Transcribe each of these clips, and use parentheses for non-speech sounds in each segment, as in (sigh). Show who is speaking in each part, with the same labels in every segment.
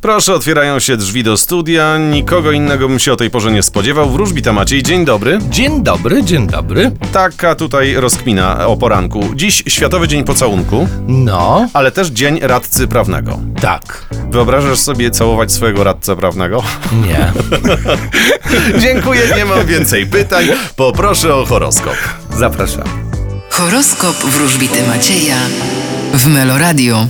Speaker 1: Proszę, otwierają się drzwi do studia. Nikogo innego bym się o tej porze nie spodziewał. Wróżbita Maciej, dzień dobry.
Speaker 2: Dzień dobry, dzień dobry.
Speaker 1: Taka tutaj rozkmina o poranku. Dziś Światowy Dzień Pocałunku,
Speaker 2: No,
Speaker 1: ale też Dzień Radcy Prawnego.
Speaker 2: tak.
Speaker 1: Wyobrażasz sobie całować swojego radcę prawnego? (laughs)
Speaker 2: Nie.
Speaker 1: Dziękuję, nie mam więcej pytań. Poproszę o horoskop.
Speaker 2: Zapraszam.
Speaker 3: Horoskop wróżbity Macieja w Meloradio.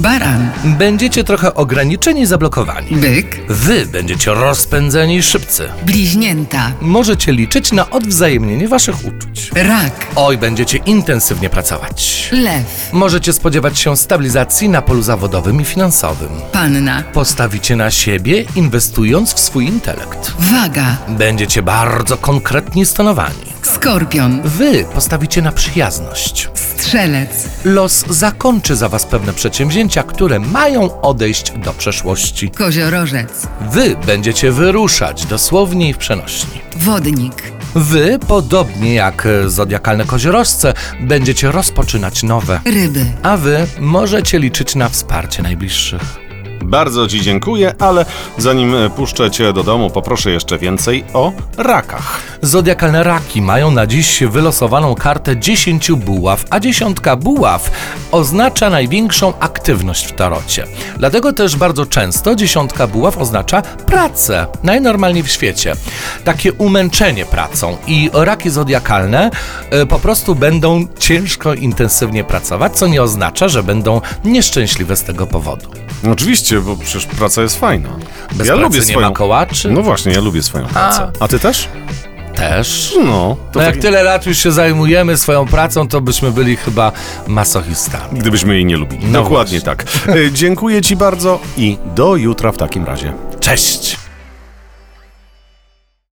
Speaker 3: Baran,
Speaker 2: Będziecie trochę ograniczeni i zablokowani.
Speaker 3: byk,
Speaker 2: Wy będziecie rozpędzeni i szybcy.
Speaker 3: bliźnięta,
Speaker 2: Możecie liczyć na odwzajemnienie waszych uczuć.
Speaker 3: rak,
Speaker 2: Oj, będziecie intensywnie pracować.
Speaker 3: lew,
Speaker 2: Możecie spodziewać się stabilizacji na polu zawodowym i finansowym.
Speaker 3: panna,
Speaker 2: Postawicie na siebie, inwestując w swój intelekt.
Speaker 3: waga,
Speaker 2: Będziecie bardzo konkretni i stanowani.
Speaker 3: skorpion,
Speaker 2: Wy postawicie na przyjazność.
Speaker 3: strzelec,
Speaker 2: Los zakończy za Was pewne przedsięwzięcia, które mają odejść do przeszłości.
Speaker 3: koziorożec,
Speaker 2: Wy będziecie wyruszać dosłownie i w przenośni.
Speaker 3: wodnik,
Speaker 2: Wy, podobnie jak e, zodiakalne koziorożce, będziecie rozpoczynać nowe.
Speaker 3: ryby.
Speaker 2: A Wy możecie liczyć na wsparcie najbliższych.
Speaker 1: Bardzo Ci dziękuję, ale zanim e, puszczę Cię do domu, poproszę jeszcze więcej o rakach.
Speaker 2: Zodiakalne raki mają na dziś wylosowaną kartę 10 buław, a dziesiątka buław oznacza największą aktywność w tarocie. Dlatego też bardzo często dziesiątka buław oznacza pracę, najnormalniej w świecie. Takie umęczenie pracą i raki zodiakalne e, po prostu będą ciężko, intensywnie pracować, co nie oznacza, że będą nieszczęśliwe z tego powodu.
Speaker 1: Oczywiście, bo przecież praca jest fajna.
Speaker 2: Bez
Speaker 1: ja
Speaker 2: pracy
Speaker 1: lubię
Speaker 2: nie
Speaker 1: swoją.
Speaker 2: ma kołaczy,
Speaker 1: No właśnie, ja lubię swoją pracę. A ty też?
Speaker 2: też.
Speaker 1: No, to
Speaker 2: No jak
Speaker 1: tak-
Speaker 2: tyle lat już się zajmujemy swoją pracą, to byśmy byli chyba masochistami.
Speaker 1: gdybyśmy jej nie lubili.
Speaker 2: No
Speaker 1: Dokładnie
Speaker 2: właśnie.
Speaker 1: tak. E, Dziękuję Ci bardzo i do jutra w takim razie.
Speaker 2: Cześć!